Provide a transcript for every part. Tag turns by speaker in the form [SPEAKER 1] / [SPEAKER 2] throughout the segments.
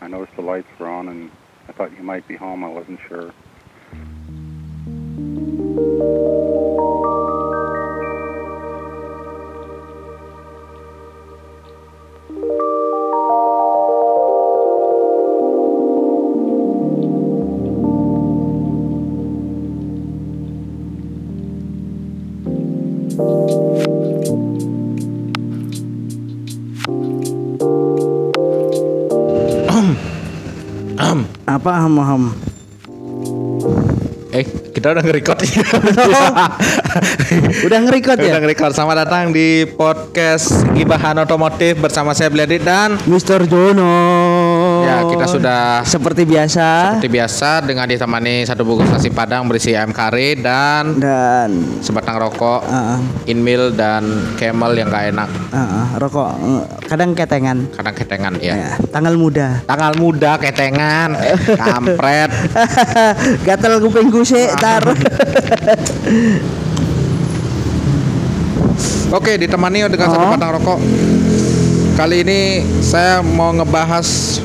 [SPEAKER 1] I noticed the lights were on and I thought you might be home. I wasn't sure.
[SPEAKER 2] Apa ham ham?
[SPEAKER 3] Eh, kita udah nge-record ya.
[SPEAKER 2] Udah ngerekod
[SPEAKER 3] udah
[SPEAKER 2] ya?
[SPEAKER 3] nge-record. Selamat datang di podcast Gibahan Otomotif bersama saya Bledit dan
[SPEAKER 2] Mister Jono.
[SPEAKER 3] ya kita sudah
[SPEAKER 2] seperti biasa
[SPEAKER 3] seperti biasa dengan ditemani satu bungkus nasi padang berisi ayam kari dan
[SPEAKER 2] dan
[SPEAKER 3] sebatang rokok,
[SPEAKER 2] ah,
[SPEAKER 3] Inmil dan Camel yang gak enak,
[SPEAKER 2] ah, ah, rokok eh, kadang ketengan.
[SPEAKER 3] kadang ketengan ya.
[SPEAKER 2] Ya, tanggal muda.
[SPEAKER 3] Tanggal muda ketengan, kampret.
[SPEAKER 2] Gatel kuping gue sih,
[SPEAKER 3] Ah,
[SPEAKER 2] tar.
[SPEAKER 3] Oke, ditemani dengan satu
[SPEAKER 2] Oh.
[SPEAKER 3] batang rokok. Kali ini saya mau ngebahas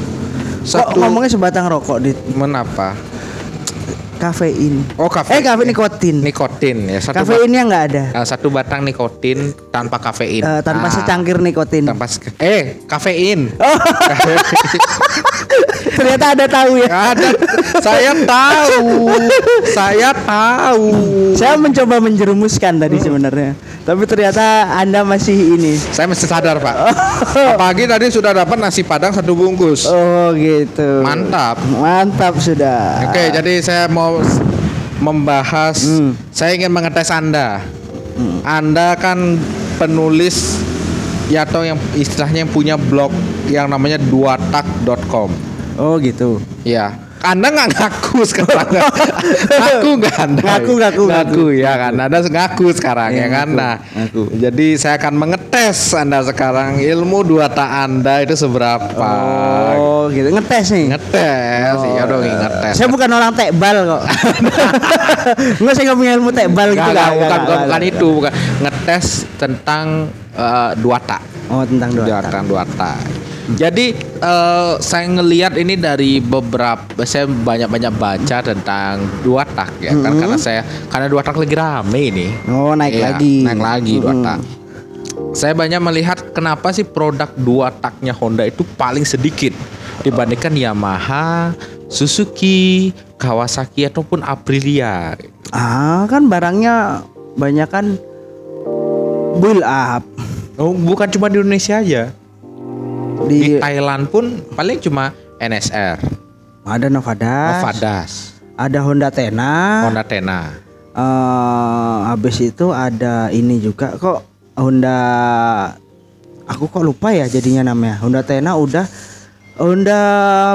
[SPEAKER 2] Kok
[SPEAKER 3] satu
[SPEAKER 2] ngomongnya sebatang rokok di
[SPEAKER 3] menapa?
[SPEAKER 2] kafein.
[SPEAKER 3] Oh,
[SPEAKER 2] Eh,
[SPEAKER 3] kafein.
[SPEAKER 2] kafein nikotin.
[SPEAKER 3] Nikotin ya, satu bat-
[SPEAKER 2] Kafeinnya nggak ada.
[SPEAKER 3] nah, satu batang nikotin tanpa kafein.
[SPEAKER 2] Eh, tanpa Oh.
[SPEAKER 3] Ah,
[SPEAKER 2] secangkir nikotin.
[SPEAKER 3] tanpa se- eh kafein.
[SPEAKER 2] Ternyata ada tahu ya.
[SPEAKER 3] Ada. saya tahu. Saya tahu.
[SPEAKER 2] Saya mencoba menjerumuskan tadi
[SPEAKER 3] Hmm.
[SPEAKER 2] sebenarnya. Tapi ternyata Anda masih ini.
[SPEAKER 3] Saya mesti sadar, Pak. Pagi tadi sudah dapat nasi padang satu bungkus.
[SPEAKER 2] Oh, gitu.
[SPEAKER 3] Mantap.
[SPEAKER 2] Mantap sudah.
[SPEAKER 3] Oke, jadi saya mau s- membahas,
[SPEAKER 2] Hmm.
[SPEAKER 3] saya ingin mengetes Anda. Anda kan penulis ya atau yang istilahnya yang punya blog yang namanya duatak.com.
[SPEAKER 2] Oh, gitu.
[SPEAKER 3] Ya. Anda nggak ngaku sekarang. ngaku nggak Anda?
[SPEAKER 2] Ngaku, ngaku,
[SPEAKER 3] ngaku. ya kan. Anda ngaku sekarang ya,
[SPEAKER 2] Iya,
[SPEAKER 3] kan.
[SPEAKER 2] ngaku,
[SPEAKER 3] Nah,
[SPEAKER 2] ngaku.
[SPEAKER 3] jadi saya akan mengetes Anda sekarang ilmu dua tak Anda itu seberapa.
[SPEAKER 2] Oh, gitu. Ngetes nih.
[SPEAKER 3] Ngetes,
[SPEAKER 2] Oh,
[SPEAKER 3] iya dong ngetes.
[SPEAKER 2] Saya bukan orang tekbal kok. Enggak saya nggak punya ilmu tekbal gitu.
[SPEAKER 3] Enggak, enggak,
[SPEAKER 2] nggak,
[SPEAKER 3] bukan,
[SPEAKER 2] nggak,
[SPEAKER 3] bukan, bukan
[SPEAKER 2] nggak.
[SPEAKER 3] itu, bukan ngetes tentang eh, dua tak,
[SPEAKER 2] Oh, tentang dua.
[SPEAKER 3] dua tak, dua tak. Jadi eh, saya ngelihat ini dari beberapa, saya banyak-banyak baca tentang dua tak ya, kan karena saya karena dua tak lagi rame ini.
[SPEAKER 2] Oh, naik
[SPEAKER 3] Iya,
[SPEAKER 2] lagi.
[SPEAKER 3] naik lagi dua
[SPEAKER 2] Mm-mm.
[SPEAKER 3] tak. Saya banyak melihat kenapa sih produk dua taknya Honda itu paling sedikit dibandingkan Yamaha, Suzuki, Kawasaki ataupun Aprilia.
[SPEAKER 2] Ah, kan barangnya banyak kan build up
[SPEAKER 3] Oh, bukan cuma di Indonesia aja. Di
[SPEAKER 2] di,
[SPEAKER 3] Thailand pun paling cuma NSR,
[SPEAKER 2] ada Novada,
[SPEAKER 3] Novadas,
[SPEAKER 2] ada Honda Tena,
[SPEAKER 3] Honda Tena.
[SPEAKER 2] eh, habis itu ada ini juga kok Honda aku kok lupa ya jadinya namanya Honda Tena udah Honda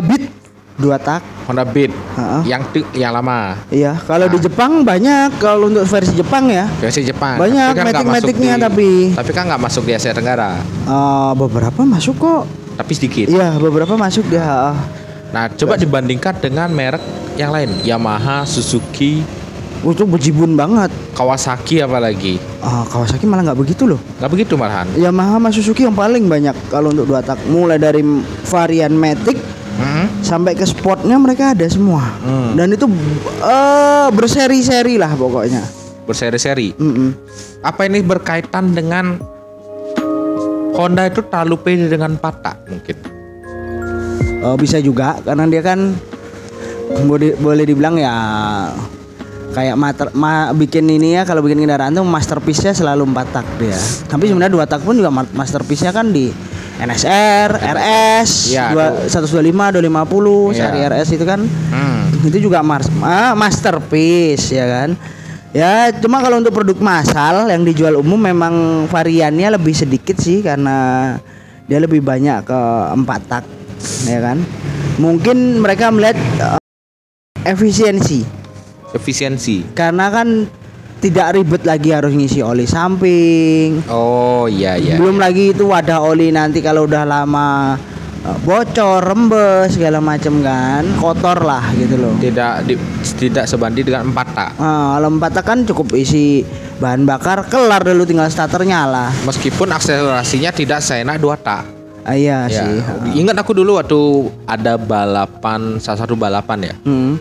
[SPEAKER 2] Beat dua tak
[SPEAKER 3] Honda Beat
[SPEAKER 2] Ha-ha.
[SPEAKER 3] yang ti- yang lama
[SPEAKER 2] Iya, kalau di Jepang banyak kalau untuk versi Jepang ya.
[SPEAKER 3] versi Jepang. kan
[SPEAKER 2] Banyak
[SPEAKER 3] nggak masuk
[SPEAKER 2] metik-metiknya
[SPEAKER 3] di-
[SPEAKER 2] tapi.
[SPEAKER 3] Tapi kan nggak masuk di Asia Tenggara.
[SPEAKER 2] Eh, beberapa masuk kok.
[SPEAKER 3] Tapi sedikit.
[SPEAKER 2] Iya, beberapa masuk ya.
[SPEAKER 3] Nah coba dibandingkan dengan merek yang lain, Yamaha, Suzuki,
[SPEAKER 2] Oh, Itu bejibun banget.
[SPEAKER 3] Kawasaki apalagi.
[SPEAKER 2] Ah, Kawasaki malah nggak begitu loh.
[SPEAKER 3] Nggak begitu malahan.
[SPEAKER 2] Yamaha sama Suzuki yang paling banyak kalau untuk dua tak. Mulai dari varian Matic
[SPEAKER 3] Hmm?
[SPEAKER 2] sampai ke sportnya mereka ada semua. Dan itu eh berseri-seri lah pokoknya.
[SPEAKER 3] Berseri-seri.
[SPEAKER 2] Mm-mm.
[SPEAKER 3] Apa ini berkaitan dengan Honda itu terlalu pede dengan patah mungkin?
[SPEAKER 2] Eh, bisa juga karena dia kan boleh boleh dibilang ya kayak mater, ma, bikin ini ya kalau bikin kendaraan tuh masterpiece-nya selalu empat tak dia. Tapi sebenarnya dua tak pun juga ma- masterpiece-nya kan di NSR, RS,
[SPEAKER 3] Iya,
[SPEAKER 2] dua- 125, 250,
[SPEAKER 3] Iya.
[SPEAKER 2] seri RS itu kan
[SPEAKER 3] Hmm.
[SPEAKER 2] itu juga mars- ah, masterpiece ya kan. Ya cuma kalau untuk produk massal yang dijual umum memang variannya lebih sedikit sih karena dia lebih banyak ke empat tak ya kan. Mungkin mereka melihat eh, efisiensi
[SPEAKER 3] efisiensi.
[SPEAKER 2] karena kan tidak ribet lagi harus ngisi oli samping.
[SPEAKER 3] Oh iya iya.
[SPEAKER 2] Belum lagi itu wadah oli nanti kalau udah lama eh, bocor, rembes segala macam kan, kotor lah gitu loh.
[SPEAKER 3] Tidak di- tidak sebanding dengan empat tak.
[SPEAKER 2] Ah, kalau empat tak kan cukup isi bahan bakar kelar dulu tinggal starter nyala.
[SPEAKER 3] Meskipun akselerasinya tidak seenak dua tak.
[SPEAKER 2] Ah, iya
[SPEAKER 3] Ya,
[SPEAKER 2] sih.
[SPEAKER 3] Ingat aku dulu waktu ada balapan salah satu balapan ya.
[SPEAKER 2] Hmm.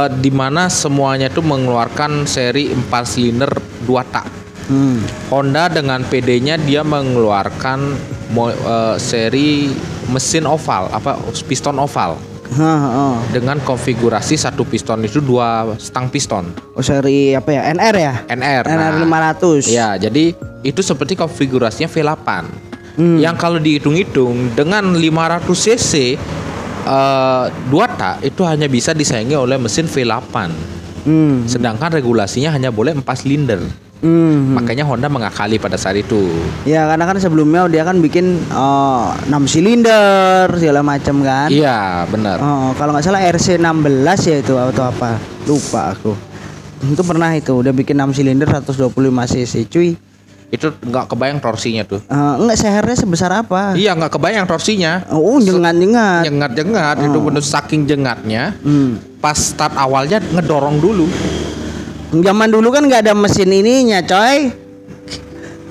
[SPEAKER 3] Eh, di mana semuanya itu mengeluarkan seri 4 silinder 2 tak.
[SPEAKER 2] Hmm.
[SPEAKER 3] Honda dengan PD-nya dia mengeluarkan mo- eh, seri mesin oval apa piston oval
[SPEAKER 2] Ha, ha.
[SPEAKER 3] dengan konfigurasi satu piston itu dua stang piston
[SPEAKER 2] Oh, seri apa ya? NR ya?
[SPEAKER 3] NR.
[SPEAKER 2] NR
[SPEAKER 3] Nah,
[SPEAKER 2] 500.
[SPEAKER 3] Ya, jadi itu seperti konfigurasinya V8.
[SPEAKER 2] Hmm.
[SPEAKER 3] Yang kalau dihitung-hitung dengan 500 cc eh, dua tak itu hanya bisa disaingi oleh mesin V8.
[SPEAKER 2] Hmm.
[SPEAKER 3] Sedangkan regulasinya hanya boleh 4 silinder.
[SPEAKER 2] Hmm.
[SPEAKER 3] Makanya Honda mengakali pada saat itu.
[SPEAKER 2] Ya karena kan sebelumnya dia kan bikin eh, 6 silinder segala macam kan.
[SPEAKER 3] Iya, benar.
[SPEAKER 2] Oh, kalau nggak salah RC16 ya itu atau apa? Lupa aku. Itu pernah itu udah bikin 6 silinder 125 cc cuy.
[SPEAKER 3] Itu nggak kebayang torsinya tuh.
[SPEAKER 2] Eh, enggak sehernya sebesar apa?
[SPEAKER 3] Iya, nggak kebayang torsinya.
[SPEAKER 2] Oh, jengat-jengat.
[SPEAKER 3] Jengat-jengat itu benar saking jengatnya.
[SPEAKER 2] Oh. Hmm.
[SPEAKER 3] Pas start awalnya ngedorong dulu.
[SPEAKER 2] Zaman dulu kan nggak ada mesin ininya, coy.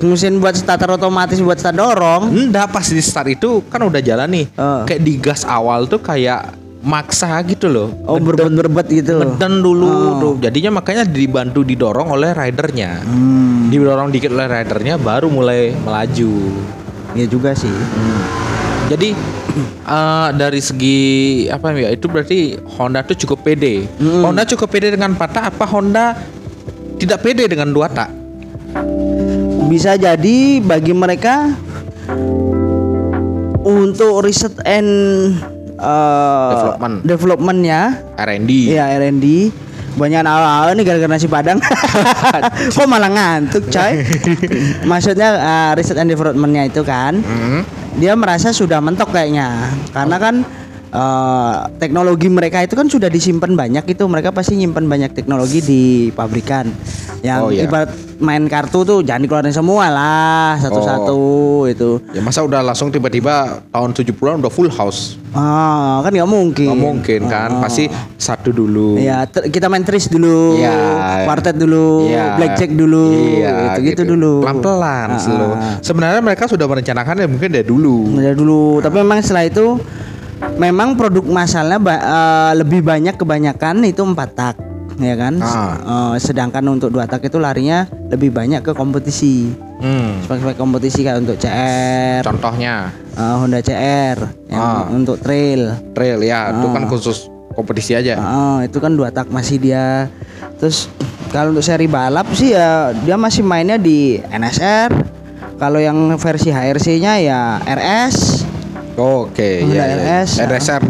[SPEAKER 2] Mesin buat starter otomatis buat start dorong.
[SPEAKER 3] Enggak pas di start itu kan udah jalan nih.
[SPEAKER 2] Heeh.
[SPEAKER 3] Kayak di gas awal tuh kayak maksa gitu loh.
[SPEAKER 2] Oh, berbet-berbet gitu. loh.
[SPEAKER 3] Ngeden dulu tuh. Jadinya makanya dibantu didorong oleh ridernya. Didorong dikit oleh ridernya baru mulai melaju.
[SPEAKER 2] Ya juga sih.
[SPEAKER 3] Jadi eh, dari segi apa ya itu berarti Honda tuh cukup pede. Honda cukup pede dengan patah apa Honda tidak pede dengan dua tak?
[SPEAKER 2] Bisa jadi bagi mereka untuk riset and eh,
[SPEAKER 3] Development.
[SPEAKER 2] developmentnya
[SPEAKER 3] R&D.
[SPEAKER 2] Iya R&D banyak awal-awal nih gara-gara nasi padang kok malah ngantuk coy maksudnya eh, riset and developmentnya itu kan
[SPEAKER 3] Hmm.
[SPEAKER 2] dia merasa sudah mentok kayaknya karena kan eh, teknologi mereka itu kan sudah disimpan banyak itu mereka pasti nyimpan banyak teknologi di pabrikan yang
[SPEAKER 3] Oh, iya.
[SPEAKER 2] ibarat main kartu tuh jangan dikeluarin semua lah satu-satu itu
[SPEAKER 3] Ya masa udah langsung tiba-tiba tahun 70-an udah full house.
[SPEAKER 2] ah kan nggak mungkin
[SPEAKER 3] Nggak mungkin kan, pasti satu dulu.
[SPEAKER 2] Ah. Iya, ter- kita main tris dulu,
[SPEAKER 3] Iya.
[SPEAKER 2] quartet dulu,
[SPEAKER 3] Iya.
[SPEAKER 2] blackjack dulu,
[SPEAKER 3] Iya,
[SPEAKER 2] gitu-gitu dulu.
[SPEAKER 3] Pelan-pelan
[SPEAKER 2] Ah,
[SPEAKER 3] slow.
[SPEAKER 2] ah.
[SPEAKER 3] Sebenarnya mereka sudah merencanakan ya mungkin dari dulu.
[SPEAKER 2] Mulai dulu, tapi memang setelah itu memang produk masalnya ba- eh, lebih banyak kebanyakan itu empat tak, ya kan?
[SPEAKER 3] Ah.
[SPEAKER 2] Eh, sedangkan untuk dua tak itu larinya lebih banyak ke kompetisi.
[SPEAKER 3] Hmm.
[SPEAKER 2] Sebagai kompetisi kayak untuk CR,
[SPEAKER 3] Contohnya
[SPEAKER 2] eh, Honda CR yang
[SPEAKER 3] Ah.
[SPEAKER 2] untuk trail.
[SPEAKER 3] trail ya, itu kan khusus kompetisi aja.
[SPEAKER 2] Ah, itu kan dua tak masih dia. Terus kalau untuk seri balap sih ya dia masih mainnya di NSR. Kalau yang versi HRC-nya ya RS.
[SPEAKER 3] Oke,
[SPEAKER 2] Honda
[SPEAKER 3] ya, ya.
[SPEAKER 2] LS, ah.
[SPEAKER 3] NSR.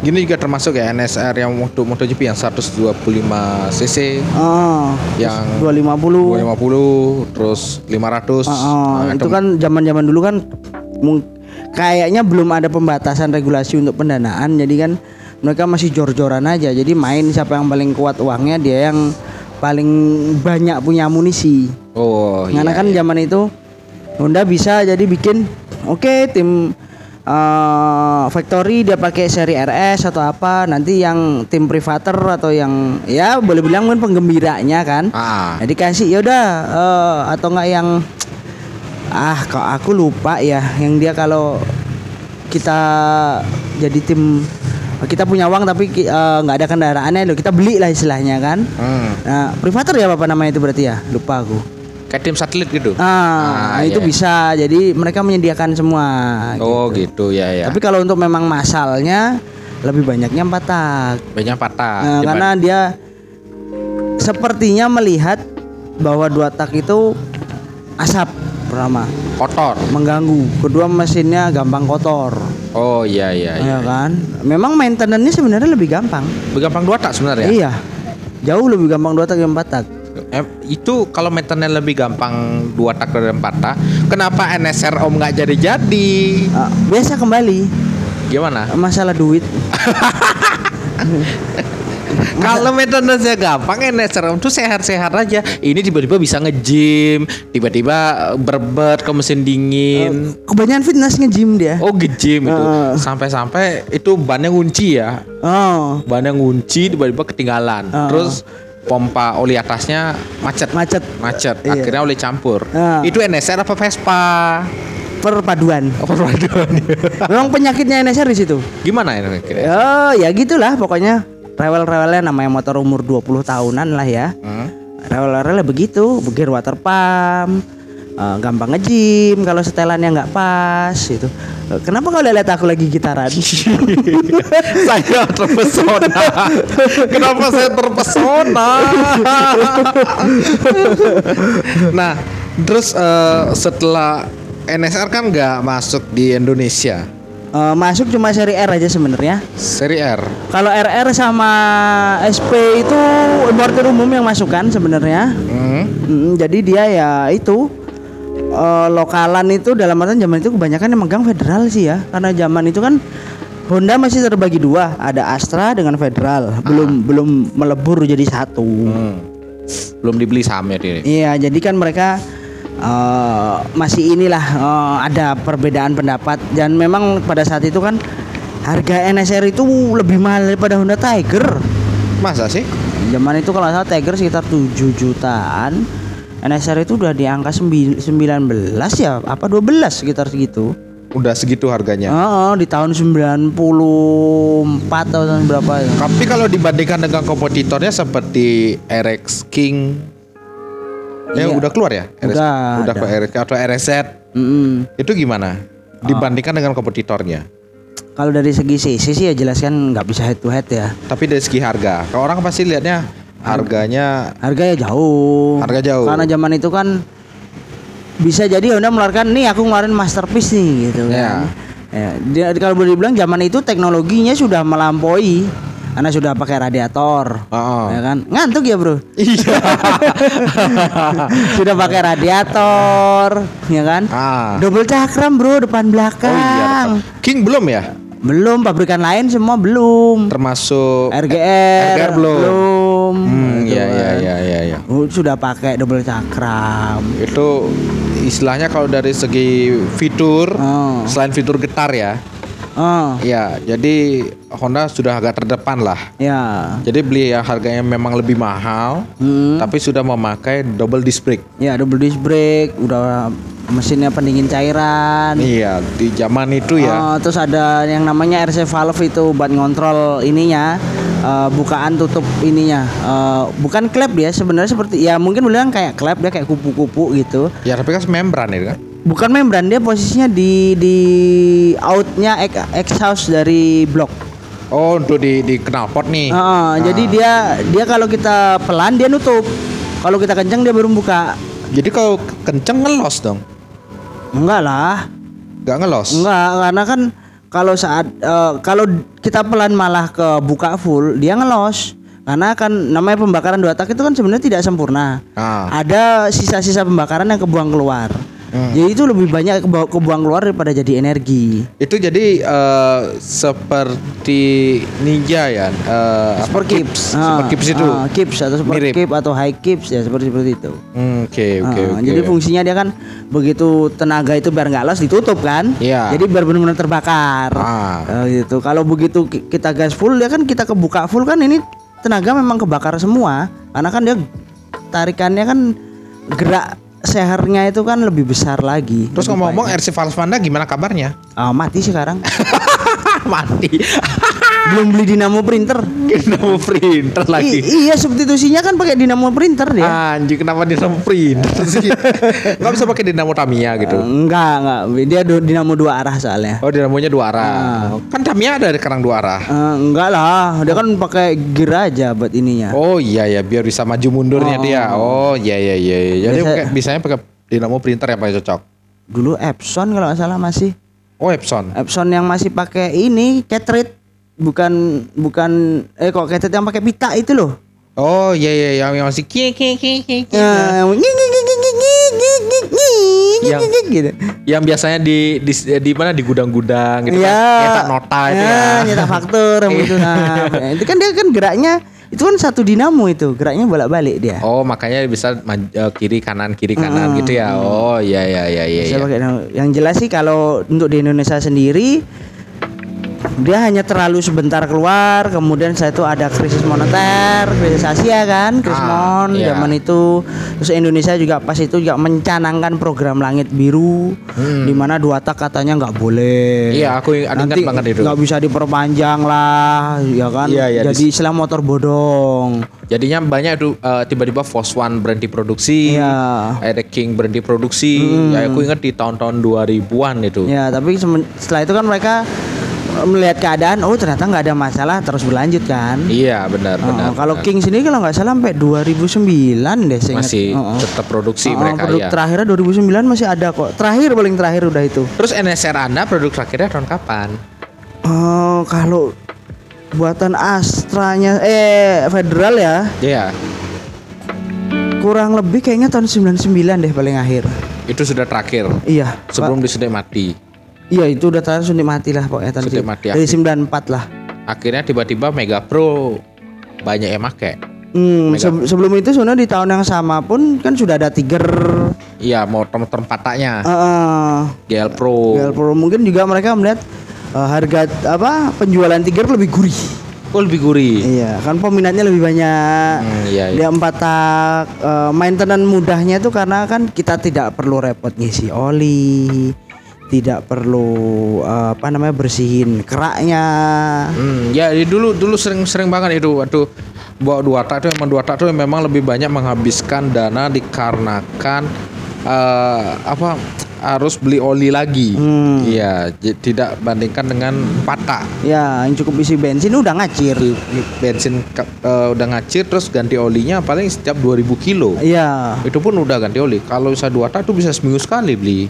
[SPEAKER 3] Gini juga termasuk ya NSR yang untuk MotoGP yang 125 cc,
[SPEAKER 2] Oh,
[SPEAKER 3] yang
[SPEAKER 2] 250.
[SPEAKER 3] 250, terus 500.
[SPEAKER 2] Ah, ah,
[SPEAKER 3] Nah,
[SPEAKER 2] itu kan zaman-zaman dulu kan mung- kayaknya belum ada pembatasan regulasi untuk pendanaan. Jadi kan mereka masih jor-joran aja. Jadi main siapa yang paling kuat uangnya dia yang paling banyak punya amunisi.
[SPEAKER 3] Oh, iya.
[SPEAKER 2] Karena kan zaman itu Honda bisa jadi bikin oke tim eh, factory dia pakai seri RS atau apa nanti yang tim privater atau yang ya boleh bilang kan penggembiranya kan.
[SPEAKER 3] Ah.
[SPEAKER 2] Jadi kasih yaudah eh, atau enggak yang ah kok aku lupa ya yang dia kalau kita jadi tim kita punya uang tapi ki- eh, nggak ada kendaraannya loh kita beli lah istilahnya kan.
[SPEAKER 3] Hmm.
[SPEAKER 2] Nah, privater ya apa namanya itu berarti ya? Lupa aku.
[SPEAKER 3] Kayak tim satelit gitu.
[SPEAKER 2] Ah,
[SPEAKER 3] Ah,
[SPEAKER 2] itu
[SPEAKER 3] iya.
[SPEAKER 2] bisa. Jadi mereka menyediakan semua.
[SPEAKER 3] Oh, gitu ya ya.
[SPEAKER 2] Ah, Tapi kalau untuk memang masalnya lebih banyaknya empat tak.
[SPEAKER 3] Banyak patah.
[SPEAKER 2] Nah,
[SPEAKER 3] Dibanding-
[SPEAKER 2] karena dia sepertinya melihat bahwa dua tak itu asap pertama
[SPEAKER 3] kotor.
[SPEAKER 2] mengganggu. Kedua mesinnya gampang kotor.
[SPEAKER 3] Oh iya iya. iya.
[SPEAKER 2] Ya kan? Memang maintenance sebenarnya lebih gampang.
[SPEAKER 3] Gampang dua tak sebenarnya.
[SPEAKER 2] Nah. Iya. Jauh lebih gampang dua tak daripada empat tak.
[SPEAKER 3] Eh, itu kalau maintenance lebih gampang dua tak dari empat tak. Kenapa NSR Om nggak jadi jadi?
[SPEAKER 2] Ah, biasa kembali.
[SPEAKER 3] Gimana?
[SPEAKER 2] masalah duit
[SPEAKER 3] Kalau maintenance nya gampang NSR Om tuh sehat-sehat aja. Ini tiba-tiba bisa nge-gym, tiba-tiba eh, berbet ke mesin dingin.
[SPEAKER 2] kebanyakan fitness nge-gym dia
[SPEAKER 3] Oh, nge-gym itu.
[SPEAKER 2] Eh.
[SPEAKER 3] Sampai-sampai itu bannya ngunci ya.
[SPEAKER 2] oh
[SPEAKER 3] Bannya ngunci tiba-tiba ketinggalan.
[SPEAKER 2] Eh.
[SPEAKER 3] Terus pompa oli atasnya macet.
[SPEAKER 2] macet
[SPEAKER 3] macet
[SPEAKER 2] Iya.
[SPEAKER 3] akhirnya oleh campur
[SPEAKER 2] Ah.
[SPEAKER 3] itu NSR apa Vespa
[SPEAKER 2] perpaduan.
[SPEAKER 3] Apa perpaduannya?
[SPEAKER 2] Memang penyakitnya NSR di situ.
[SPEAKER 3] Gimana ya? kira-kira?
[SPEAKER 2] Oh, ya gitulah pokoknya. Rewel-rewelnya namanya motor umur 20 tahunan lah ya.
[SPEAKER 3] Hmm?
[SPEAKER 2] Rewel-rewelnya begitu, begir water pump, eh, gampang ngejim kalau setelannya nggak pas gitu. Eh, Kenapa kalau lihat aku lagi gitaran?
[SPEAKER 3] saya terpesona. Kenapa saya terpesona? nah, terus eh, setelah NSR kan nggak masuk di Indonesia,
[SPEAKER 2] Eh, masuk cuma seri R aja sebenarnya.
[SPEAKER 3] seri R.
[SPEAKER 2] Kalau RR sama SP itu importer umum yang masuk kan sebenarnya.
[SPEAKER 3] Hmm.
[SPEAKER 2] Mm, jadi dia ya itu eh, lokalan itu dalam artian zaman itu kebanyakan yang megang federal sih ya karena zaman itu kan Honda masih terbagi dua ada Astra dengan federal belum belum melebur jadi satu
[SPEAKER 3] Hmm. Belum dibeli ya, sahamnya dia.
[SPEAKER 2] iya jadi kan mereka eh, masih inilah eh, ada perbedaan pendapat dan memang pada saat itu kan harga NSR itu lebih mahal daripada Honda Tiger
[SPEAKER 3] Masa sih?
[SPEAKER 2] Zaman itu kalau nggak salah Tiger sekitar 7 jutaan. NSR itu udah di angka sembil- 19 ya, apa 12 sekitar segitu.
[SPEAKER 3] Udah segitu harganya.
[SPEAKER 2] Oh, di tahun 94 atau tahun berapa ya.
[SPEAKER 3] Tapi kalau dibandingkan dengan kompetitornya seperti RX King, ya
[SPEAKER 2] Iya.
[SPEAKER 3] udah keluar ya? RX,
[SPEAKER 2] Udah, Ah.
[SPEAKER 3] udah ke
[SPEAKER 2] udah.
[SPEAKER 3] RX atau RZ
[SPEAKER 2] Mm-mm.
[SPEAKER 3] itu gimana? Dibandingkan dengan kompetitornya?
[SPEAKER 2] Kalau dari segi sisi sih ya jelaskan nggak bisa head to head ya.
[SPEAKER 3] Tapi dari segi harga, kalau orang pasti lihatnya harganya
[SPEAKER 2] Harga ya jauh.
[SPEAKER 3] Harga jauh.
[SPEAKER 2] Karena zaman itu kan bisa jadi Honda mengeluarkan nih aku ngeluarin masterpiece nih gitu
[SPEAKER 3] Ya.
[SPEAKER 2] kan. Ya, dia- kalau boleh dibilang zaman itu teknologinya sudah melampaui. Karena sudah pakai radiator.
[SPEAKER 3] Oh.
[SPEAKER 2] Ya kan? Ngantuk ya, Bro.
[SPEAKER 3] Iya.
[SPEAKER 2] Sudah pakai radiator, ya kan?
[SPEAKER 3] ah.
[SPEAKER 2] Double cakram, Bro, depan
[SPEAKER 3] Oh
[SPEAKER 2] belakang.
[SPEAKER 3] iya. betul. King belum ya?
[SPEAKER 2] Belum pabrikan lain semua belum.
[SPEAKER 3] Termasuk
[SPEAKER 2] RGR,
[SPEAKER 3] RGR belum.
[SPEAKER 2] belum.
[SPEAKER 3] Hmm,
[SPEAKER 2] gitu
[SPEAKER 3] iya iya
[SPEAKER 2] kan.
[SPEAKER 3] iya iya iya.
[SPEAKER 2] Oh, Sudah pakai double cakram.
[SPEAKER 3] Itu istilahnya kalau dari segi fitur
[SPEAKER 2] Oh.
[SPEAKER 3] selain fitur getar ya.
[SPEAKER 2] Oh,
[SPEAKER 3] Ya, jadi Honda sudah agak terdepan lah.
[SPEAKER 2] ya.
[SPEAKER 3] Jadi beli yang harganya memang lebih mahal,
[SPEAKER 2] Hmm.
[SPEAKER 3] tapi sudah memakai double disc brake.
[SPEAKER 2] Ya, double disc brake, udah mesinnya pendingin cairan.
[SPEAKER 3] Iya, di zaman itu ya.
[SPEAKER 2] Oh, terus ada yang namanya RC valve itu buat ngontrol ininya eh, bukaan tutup ininya. Eh, bukan klep dia sebenarnya seperti ya mungkin bilang kayak klep dia kayak kupu-kupu gitu.
[SPEAKER 3] Ya, tapi kan membran itu kan.
[SPEAKER 2] Bukan membran dia posisinya di di outnya ex- exhaust dari blok.
[SPEAKER 3] Oh, untuk di di knalpot nih. Nah.
[SPEAKER 2] Eh, eh, Jadi dia dia kalau kita pelan dia nutup. Kalau kita kenceng dia baru buka.
[SPEAKER 3] Jadi kalau kenceng ngelos dong.
[SPEAKER 2] Enggak lah.
[SPEAKER 3] Gak ngelos.
[SPEAKER 2] Enggak, karena kan kalau saat eh, kalau kita pelan malah ke buka full, dia ngelos. Karena kan namanya pembakaran dua tak itu kan sebenarnya tidak sempurna.
[SPEAKER 3] Ah.
[SPEAKER 2] Ada sisa-sisa pembakaran yang kebuang keluar.
[SPEAKER 3] Hmm.
[SPEAKER 2] Jadi itu lebih banyak kebu- kebuang keluar daripada jadi energi.
[SPEAKER 3] Itu jadi eh, seperti ninja ya. eh, apa,
[SPEAKER 2] Super
[SPEAKER 3] kips. Super kips itu.
[SPEAKER 2] Ah, kips atau super
[SPEAKER 3] Mirip.
[SPEAKER 2] kip atau high kips ya seperti seperti itu.
[SPEAKER 3] Hmm, Oke, oke,
[SPEAKER 2] Ah,
[SPEAKER 3] oke.
[SPEAKER 2] Jadi fungsinya dia kan begitu tenaga itu biar nggak los ditutup kan.
[SPEAKER 3] Iya.
[SPEAKER 2] Jadi biar benar-benar terbakar.
[SPEAKER 3] Ah.
[SPEAKER 2] Eh, gitu. Kalau begitu ki- kita gas full dia kan kita kebuka full kan ini tenaga memang kebakar semua. Karena kan dia tarikannya kan gerak sehernya itu kan lebih besar lagi.
[SPEAKER 3] Terus
[SPEAKER 2] Lebih
[SPEAKER 3] ngomong-ngomong
[SPEAKER 2] banyak.
[SPEAKER 3] RC Valve Panda gimana kabarnya?
[SPEAKER 2] Ah, mati sekarang.
[SPEAKER 3] Mati.
[SPEAKER 2] Belum beli dinamo printer.
[SPEAKER 3] Kenapa printer
[SPEAKER 2] I- iya substitusinya kan pakai dinamo printer dia.
[SPEAKER 3] Anjir kenapa dinamo printer sih? Gak bisa pakai dinamo Tamiya gitu.
[SPEAKER 2] Enggak, enggak. Dia du- dinamo dua arah soalnya.
[SPEAKER 3] Oh dinamonya dua arah. Kan Tamiya ada kerang dua arah.
[SPEAKER 2] Eh, enggak lah, dia kan pakai gear aja buat ininya.
[SPEAKER 3] Oh iya ya biar bisa maju mundurnya dia. Oh iya iya iya. iya. Jadi
[SPEAKER 2] Biasa-
[SPEAKER 3] pakai- bisanya pakai dinamo printer ya, yang paling cocok.
[SPEAKER 2] Dulu Epson kalau nggak salah masih
[SPEAKER 3] Oh Epson.
[SPEAKER 2] Epson yang masih pakai ini catrit bukan bukan eh kok catrit yang pakai pita itu loh.
[SPEAKER 3] Oh iya iya yang, yang masih kie kie kie kie. kie.
[SPEAKER 2] Ya, yang nging, nging, nging, nging, nging, nging, nging, nging,
[SPEAKER 3] Yang-
[SPEAKER 2] nging, nging, gitu.
[SPEAKER 3] Yang biasanya di di di mana di gudang-gudang gitu
[SPEAKER 2] Iya.
[SPEAKER 3] kan. Nyetak nota itu
[SPEAKER 2] Ya,
[SPEAKER 3] kan.
[SPEAKER 2] nyetak faktur yang gitu. Nah, itu kan dia kan geraknya itu kan satu dinamo itu, geraknya bolak-balik dia.
[SPEAKER 3] Oh makanya bisa maj- eh, kiri kanan kiri kanan gitu ya. Oh iya iya iya iya.
[SPEAKER 2] Saya
[SPEAKER 3] iya.
[SPEAKER 2] pakai dinamo. Yang jelas sih kalau untuk di Indonesia sendiri dia hanya terlalu sebentar keluar kemudian saya tuh ada krisis moneter krisis Asia kan
[SPEAKER 3] Ah,
[SPEAKER 2] krismon
[SPEAKER 3] iya.
[SPEAKER 2] zaman itu terus Indonesia juga pas itu juga mencanangkan program langit biru di mana dua tak katanya nggak boleh
[SPEAKER 3] Hmm. Iya, aku ing- aku ingat
[SPEAKER 2] Nanti
[SPEAKER 3] banget itu.
[SPEAKER 2] nggak bisa diperpanjang lah ya kan
[SPEAKER 3] Iya, iya,
[SPEAKER 2] jadi istilah motor bodong
[SPEAKER 3] Jadinya banyak itu eh, tiba-tiba Force One berhenti produksi,
[SPEAKER 2] Iya. Mm-hmm.
[SPEAKER 3] ada King berhenti produksi. Ya aku ingat di tahun-tahun 2000-an itu.
[SPEAKER 2] Ya, tapi semen- setelah itu kan mereka eh, melihat keadaan, oh ternyata nggak ada masalah terus berlanjut kan.
[SPEAKER 3] Iya, benar
[SPEAKER 2] Oh,
[SPEAKER 3] benar.
[SPEAKER 2] kalau
[SPEAKER 3] benar.
[SPEAKER 2] King sini kalau nggak salah sampai 2009 deh saya ingat.
[SPEAKER 3] masih
[SPEAKER 2] Oh, oh.
[SPEAKER 3] tetap produksi
[SPEAKER 2] Oh, oh,
[SPEAKER 3] mereka
[SPEAKER 2] produk
[SPEAKER 3] ya.
[SPEAKER 2] terakhirnya 2009 masih ada kok. Terakhir paling terakhir udah itu.
[SPEAKER 3] Terus NSR Anda produk terakhirnya tahun kapan?
[SPEAKER 2] Oh, kalau buatan Astranya eh Federal ya,
[SPEAKER 3] Iya,
[SPEAKER 2] kurang lebih kayaknya tahun 99 deh paling akhir.
[SPEAKER 3] itu sudah terakhir.
[SPEAKER 2] Iya. Pak.
[SPEAKER 3] Sebelum disuntik mati.
[SPEAKER 2] Iya, itu udah tahun suntik mati lah pokoknya tahun
[SPEAKER 3] Suntik mati
[SPEAKER 2] Dari
[SPEAKER 3] akhir.
[SPEAKER 2] 94 lah.
[SPEAKER 3] Akhirnya tiba-tiba Mega Pro banyak yang make.
[SPEAKER 2] Hmm,
[SPEAKER 3] Mega.
[SPEAKER 2] se- sebelum itu sebenarnya di tahun yang sama pun kan sudah ada Tiger,
[SPEAKER 3] Iya, motor-motor empataknya.
[SPEAKER 2] eh,
[SPEAKER 3] GL Pro.
[SPEAKER 2] GL Pro. Mungkin juga mereka melihat eh, harga apa penjualan Tiger lebih gurih.
[SPEAKER 3] Oh, lebih gurih.
[SPEAKER 2] Iya, kan peminatnya lebih banyak.
[SPEAKER 3] Hmm, iya, iya.
[SPEAKER 2] Dia empat tak eh, maintenance mudahnya itu karena kan kita tidak perlu repot ngisi oli, tidak perlu eh, apa namanya bersihin keraknya.
[SPEAKER 3] Hmm, ya di- dulu dulu sering-sering banget itu waktu bawa dua tak tuh emang dua tak tuh memang lebih banyak menghabiskan dana dikarenakan eh, apa harus beli oli lagi.
[SPEAKER 2] Hmm.
[SPEAKER 3] Iya, j- tidak bandingkan dengan empat tak.
[SPEAKER 2] Ya, yang cukup isi bensin udah ngacir.
[SPEAKER 3] Bensin ke- eh, udah ngacir terus ganti olinya paling setiap 2000 kilo.
[SPEAKER 2] Iya,
[SPEAKER 3] Itu pun udah ganti oli. Kalau bisa dua tak tuh bisa seminggu sekali beli.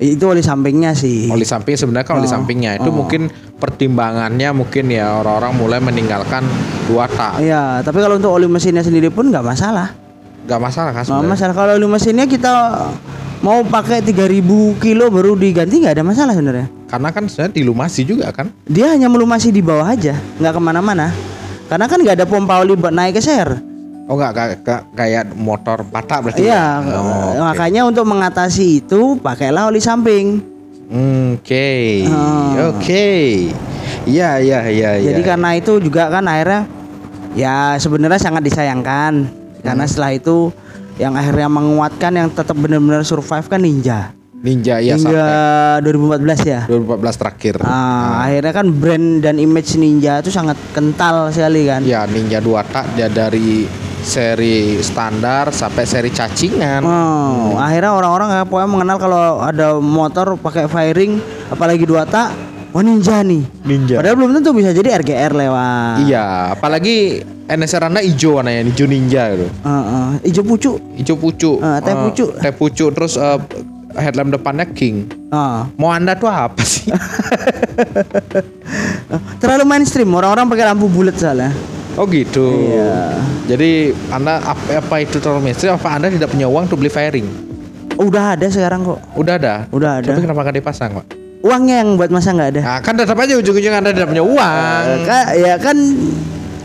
[SPEAKER 2] itu oli sampingnya sih.
[SPEAKER 3] Oli samping sebenarnya kan oli sampingnya itu mungkin pertimbangannya mungkin ya orang-orang mulai meninggalkan dua tak.
[SPEAKER 2] Iya, tapi kalau untuk oli mesinnya sendiri pun nggak masalah.
[SPEAKER 3] Gak masalah kan
[SPEAKER 2] Nggak
[SPEAKER 3] sebenarnya.
[SPEAKER 2] masalah kalau oli mesinnya kita mau pakai 3000 kilo baru diganti nggak ada masalah sebenarnya.
[SPEAKER 3] Karena kan sebenarnya dilumasi juga kan.
[SPEAKER 2] Dia hanya melumasi di bawah aja, nggak kemana-mana. Karena kan nggak ada pompa oli buat naik ke share.
[SPEAKER 3] Oh nggak kayak kayak motor patah berarti.
[SPEAKER 2] Iya,
[SPEAKER 3] ya? Oh, oke.
[SPEAKER 2] makanya untuk mengatasi itu pakailah oli samping.
[SPEAKER 3] Hmm, Oke.
[SPEAKER 2] Ah.
[SPEAKER 3] Oke. Iya iya iya.
[SPEAKER 2] Jadi
[SPEAKER 3] iya.
[SPEAKER 2] karena itu juga kan akhirnya ya sebenarnya sangat disayangkan
[SPEAKER 3] Hmm.
[SPEAKER 2] karena setelah itu yang akhirnya menguatkan yang tetap benar-benar survive kan Ninja.
[SPEAKER 3] Ninja ya
[SPEAKER 2] Hingga 2014 ya.
[SPEAKER 3] 2014 terakhir.
[SPEAKER 2] Ah, akhirnya kan brand dan image Ninja itu sangat kental sekali kan.
[SPEAKER 3] Ya Ninja dua tak dia dari seri standar sampai seri cacingan.
[SPEAKER 2] Oh, akhirnya orang-orang kayak pokoknya mengenal kalau ada motor pakai firing apalagi dua tak, oh Ninja nih.
[SPEAKER 3] Ninja.
[SPEAKER 2] Padahal belum tentu bisa jadi RGR lewat.
[SPEAKER 3] Iya, apalagi NSR Anda hijau warnanya, hijau ninja gitu.
[SPEAKER 2] Heeh, ijo pucuk.
[SPEAKER 3] Hijau pucuk.
[SPEAKER 2] Ah, teh
[SPEAKER 3] Eh,
[SPEAKER 2] pucuk.
[SPEAKER 3] Teh pucuk terus eh, headlamp depannya king.
[SPEAKER 2] Ah.
[SPEAKER 3] Mau Anda tuh apa sih?
[SPEAKER 2] Terlalu mainstream orang-orang pakai lampu bulat soalnya.
[SPEAKER 3] Oh gitu.
[SPEAKER 2] Iya.
[SPEAKER 3] Jadi anda apa, apa itu terlalu mainstream? Apa anda tidak punya uang untuk beli fairing?
[SPEAKER 2] Udah ada sekarang kok.
[SPEAKER 3] Udah ada.
[SPEAKER 2] Udah ada.
[SPEAKER 3] Tapi kenapa nggak dipasang pak?
[SPEAKER 2] Uangnya yang buat masa nggak ada.
[SPEAKER 3] Nah, kan tetap aja ujung-ujungnya anda tidak punya uang.
[SPEAKER 2] Eh, Kak, ya kan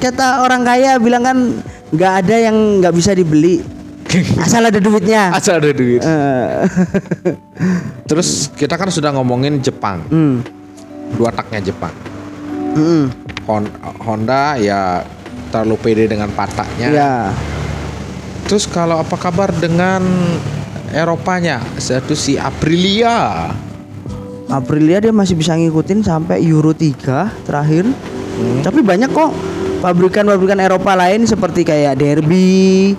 [SPEAKER 2] kata orang kaya bilang kan nggak ada yang nggak bisa dibeli asal ada duitnya.
[SPEAKER 3] Asal ada duit.
[SPEAKER 2] Eh,
[SPEAKER 3] Terus kita kan sudah ngomongin Jepang,
[SPEAKER 2] hmm,
[SPEAKER 3] dua taknya Jepang.
[SPEAKER 2] hmm,
[SPEAKER 3] Hon- Honda ya terlalu pede dengan pataknya.
[SPEAKER 2] ya.
[SPEAKER 3] Terus kalau apa kabar dengan Eropanya? Satu si Aprilia.
[SPEAKER 2] Aprilia dia masih bisa ngikutin sampai Euro 3 terakhir. Tapi banyak kok pabrikan-pabrikan Eropa lain seperti kayak Derby,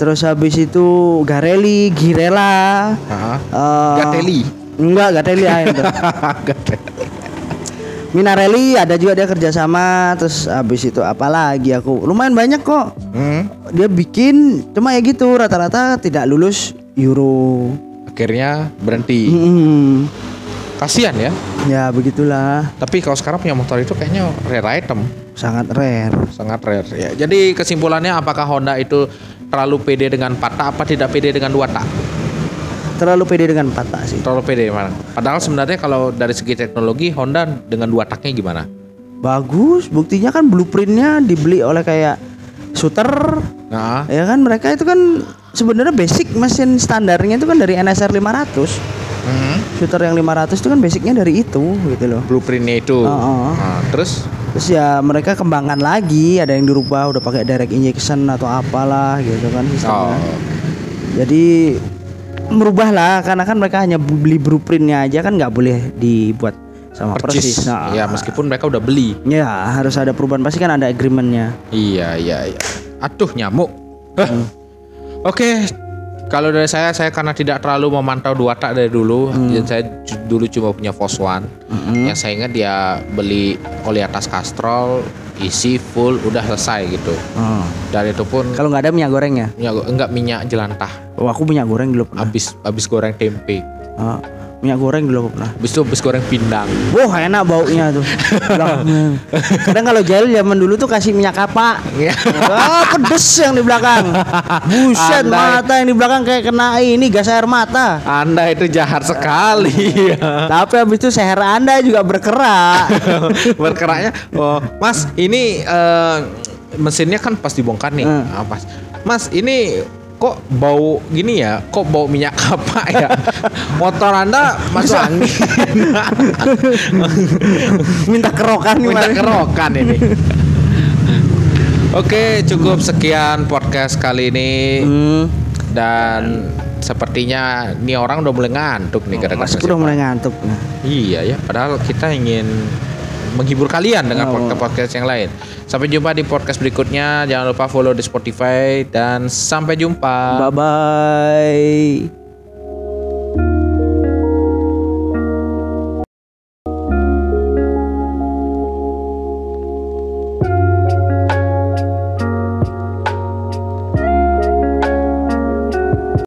[SPEAKER 2] terus habis itu Garelli, Girela, eh,
[SPEAKER 3] Hah? Gatelli.
[SPEAKER 2] Enggak, Gatelli lain tuh. Minarelli ada juga dia kerjasama terus habis itu apalagi aku lumayan banyak kok
[SPEAKER 3] Hmm.
[SPEAKER 2] dia bikin cuma ya gitu rata-rata tidak lulus Euro
[SPEAKER 3] Akhirnya berhenti.
[SPEAKER 2] Hmm. Mm-mm.
[SPEAKER 3] Kasihan ya.
[SPEAKER 2] ya begitulah
[SPEAKER 3] Tapi kalau sekarang punya motor itu kayaknya rare item,
[SPEAKER 2] sangat rare
[SPEAKER 3] sangat rare. Ya, jadi kesimpulannya apakah Honda itu terlalu pede dengan patah apa tidak pede dengan dua tak?
[SPEAKER 2] terlalu pede dengan patah sih
[SPEAKER 3] Terlalu pede mana? Padahal sebenarnya kalau dari segi teknologi Honda dengan dua taknya gimana?
[SPEAKER 2] bagus buktinya kan blueprintnya dibeli oleh kayak shooter
[SPEAKER 3] Nah,
[SPEAKER 2] ya kan mereka itu kan sebenarnya basic mesin standarnya itu kan dari NSR 500
[SPEAKER 3] Mhm.
[SPEAKER 2] Shooter yang 500 itu kan basicnya dari itu gitu loh.
[SPEAKER 3] Blueprintnya itu.
[SPEAKER 2] Oh, oh.
[SPEAKER 3] Nah, terus
[SPEAKER 2] Terus ya mereka kembangkan lagi, ada yang dirubah udah pakai direct injection atau apalah gitu kan
[SPEAKER 3] oh,
[SPEAKER 2] sistemnya. Jadi merubah lah karena kan mereka hanya beli blueprintnya aja kan nggak boleh dibuat sama persis.
[SPEAKER 3] percis.
[SPEAKER 2] Nah,
[SPEAKER 3] Ya meskipun mereka udah beli.
[SPEAKER 2] Ya harus ada perubahan pasti kan ada agreementnya.
[SPEAKER 3] Iya iya iya. Aduh nyamuk. Hah. Oke. Kalau dari saya, saya karena tidak terlalu memantau dua tak dari dulu, dan saya ju- dulu cuma punya Force One. Yang saya ingat dia beli oli atas kastrol, isi full, udah selesai gitu.
[SPEAKER 2] Hmm.
[SPEAKER 3] Dan itu pun
[SPEAKER 2] Kalau nggak ada minyak gorengnya,
[SPEAKER 3] minyak, enggak minyak jelantah,
[SPEAKER 2] oh, aku minyak goreng dulu pernah.
[SPEAKER 3] habis habis goreng tempe,
[SPEAKER 2] Ah, minyak goreng dulu aku pernah.
[SPEAKER 3] habis itu habis goreng pindang.
[SPEAKER 2] Wah enak baunya tuh. Belakangnya. Kadang kalau jahil zaman dulu tuh kasih minyak apa?
[SPEAKER 3] Iya.
[SPEAKER 2] Wah pedes yang di belakang. Buset
[SPEAKER 3] Andai.
[SPEAKER 2] mata yang di belakang kayak kena ini gas air mata.
[SPEAKER 3] Anda itu jahat sekali.
[SPEAKER 2] Tapi habis itu seher anda juga berkerak.
[SPEAKER 3] berkeraknya oh mas ini eh, mesinnya kan pas dibongkar nih
[SPEAKER 2] Hmm.
[SPEAKER 3] Ah, pas mas ini kok bau gini ya kok bau minyak apa ya motor anda masuk angin
[SPEAKER 2] Minta kerokan
[SPEAKER 3] minta
[SPEAKER 2] kemarin.
[SPEAKER 3] kerokan ini Oke, cukup sekian podcast kali ini
[SPEAKER 2] Hmm,
[SPEAKER 3] dan sepertinya nih orang udah mulai ngantuk nih gara-gara
[SPEAKER 2] Mas udah mulai ngantuk. Nah.
[SPEAKER 3] Iya ya, padahal kita ingin menghibur kalian dengan
[SPEAKER 2] Oh.
[SPEAKER 3] podcast-podcast yang lain. Sampai jumpa di podcast Ah. berikutnya. Jangan lupa follow di Spotify dan sampai jumpa.
[SPEAKER 2] Bye bye.